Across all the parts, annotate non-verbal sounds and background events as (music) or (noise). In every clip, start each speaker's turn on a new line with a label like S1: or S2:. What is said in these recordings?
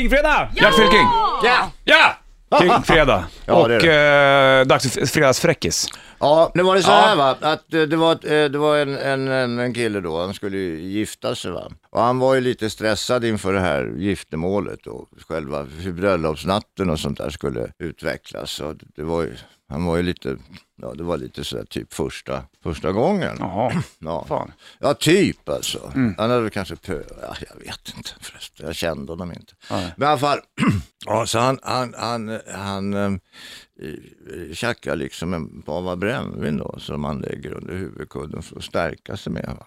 S1: Kingfredag!
S2: Gert Fylking!
S3: Ja!
S1: Ja! Kingfredag.
S3: Ja,
S1: Och
S3: det är
S1: eh, dags för fredagsfräckis.
S3: Ja, nu var det så här va, att eh, det var, ett, eh, det var en, en, en, en kille då, han skulle ju gifta sig va. Och han var ju lite stressad inför det här giftermålet och själva hur bröllopsnatten och sånt där skulle utvecklas. Och det var ju, han var ju lite, ja det var lite sådär typ första, första gången.
S1: Jaha,
S3: Ja,
S1: fan.
S3: ja typ alltså. Han hade väl kanske pö... Ja, jag vet inte förresten, jag kände honom inte. Men i alla fall, (clears throat) ja, så han, han, han, han eh, eh, tjackar liksom en pava brännvin då som han lägger under huvudkudden för att stärka sig med. Va?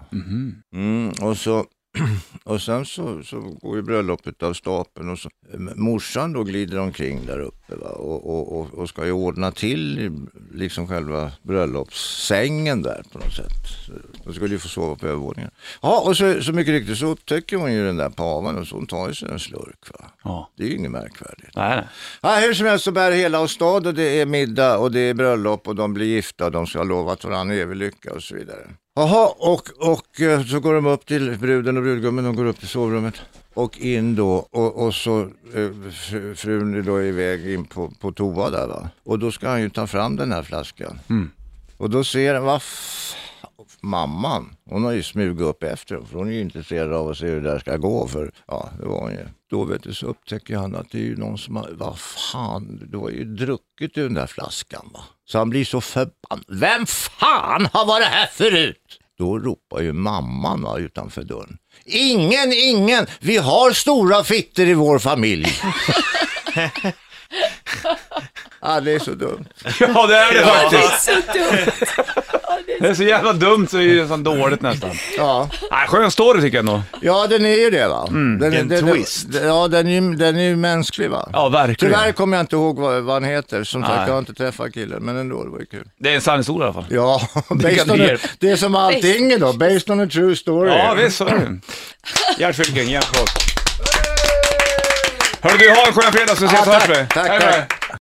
S3: Mm, och så och sen så, så går ju bröllopet av stapeln och så, morsan då glider omkring där uppe va? Och, och, och, och ska ju ordna till liksom själva bröllopssängen där på något sätt. Så De skulle ju få sova på övervåningen. Ja, och så, så mycket riktigt så upptäcker hon ju den där pavan och så hon tar ju sig en slurk. Va?
S1: (clears throat) Ja.
S3: Det är ju inget märkvärdigt.
S1: Nej, nej.
S3: Ja, hur som helst så bär hela åstad och det är middag och det är bröllop och de blir gifta och de ska ha lovat varandra evig lycka och så vidare. Jaha, och, och eh, så går de upp till bruden och brudgummen, de går upp till sovrummet och in då och, och så eh, fru- frun är då iväg in på, på toa där va. Och då ska han ju ta fram den här flaskan. Och då ser han, vad f- mamman, hon har ju smugit upp efter dem, för hon är ju intresserad av att se hur det där ska gå, för ja, det var hon ju. Då vet du, så upptäcker han att det är ju någon som har, vad fan, du har ju druckit ur den där flaskan va. Så han blir så förbannad. Vem fan har varit här förut? Då ropar ju mamman va, utanför dörren. Ingen, ingen, vi har stora fitter i vår familj. (laughs) ja, det är så dumt.
S1: Ja, det är det
S2: Ja.
S1: faktiskt.
S2: Det
S4: Det är så dumt.
S1: Det är så jävla dumt så det är ju nästan dåligt nästan.
S3: Ja.
S1: Nej, skön story tycker jag ändå.
S3: Ja, den är ju det va.
S1: Mm.
S3: den,
S2: en
S3: den,
S2: twist.
S3: Den, ja, den är, ju- den är ju mänsklig va.
S1: Ja, verkligen.
S3: Tyvärr kommer jag inte ihåg vad, vad han heter. Som
S1: Nej.
S3: sagt, jag har inte träffat killen, men ändå, det var ju kul.
S1: Det är en sann historia i alla fall.
S3: Ja, (laughs)
S1: kan
S3: based on
S1: du
S3: a,
S1: hjälpa.
S3: det är som allting idag, based on a true story.
S1: Ja, visst så är det. Gert Fylking, Gert Hörru du, ha en skön fredag så ses och
S3: Ja,
S1: hörs
S3: tack,
S1: vi.
S3: tack,
S1: Hej med
S3: tack.
S1: dig.